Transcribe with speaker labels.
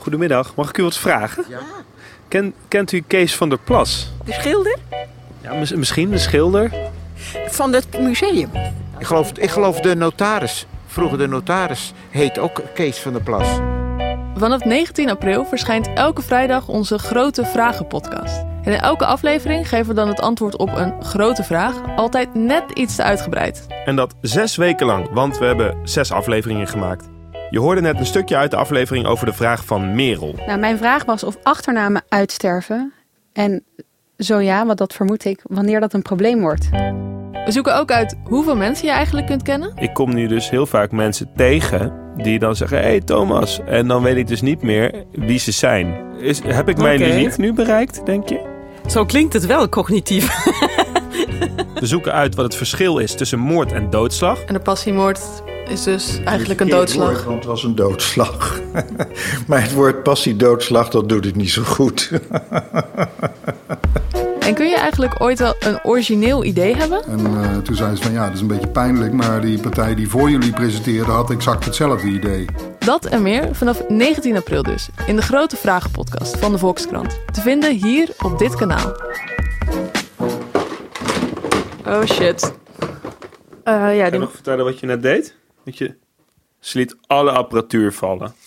Speaker 1: Goedemiddag, mag ik u wat vragen? Ja. Ken, kent u Kees van der Plas?
Speaker 2: De schilder
Speaker 1: Ja, mis- misschien een schilder.
Speaker 2: van het museum.
Speaker 3: Ik geloof, ik geloof de notaris. Vroeger de notaris heet ook Kees van der Plas.
Speaker 4: Vanaf 19 april verschijnt elke vrijdag onze Grote Vragen-podcast. En in elke aflevering geven we dan het antwoord op een grote vraag, altijd net iets te uitgebreid.
Speaker 5: En dat zes weken lang, want we hebben zes afleveringen gemaakt. Je hoorde net een stukje uit de aflevering over de vraag van Merel.
Speaker 6: Nou, mijn vraag was of achternamen uitsterven. En zo ja, want dat vermoed ik, wanneer dat een probleem wordt.
Speaker 4: We zoeken ook uit hoeveel mensen je eigenlijk kunt kennen.
Speaker 5: Ik kom nu dus heel vaak mensen tegen die dan zeggen: Hé hey, Thomas. En dan weet ik dus niet meer wie ze zijn. Is, heb ik mijn
Speaker 7: Oké.
Speaker 5: limiet nu bereikt, denk je?
Speaker 7: Zo klinkt het wel cognitief.
Speaker 5: We zoeken uit wat het verschil is tussen moord en doodslag.
Speaker 4: En de passiemoord is dus eigenlijk een
Speaker 8: Verkeerd
Speaker 4: doodslag.
Speaker 8: woord, want het was een doodslag. maar het woord passiedoodslag, dat doet het niet zo goed.
Speaker 4: En kun je eigenlijk ooit wel een origineel idee hebben?
Speaker 9: En eh, toen zei ze van ja, dat is een beetje pijnlijk, maar die partij die voor jullie presenteerde had exact hetzelfde idee.
Speaker 4: Dat en meer vanaf 19 april dus, in de Grote Vragen-podcast van de Volkskrant. Te vinden hier op dit kanaal. Oh shit. ja,
Speaker 5: Kan je nog vertellen wat je net deed? Dat je... Ze liet alle apparatuur vallen.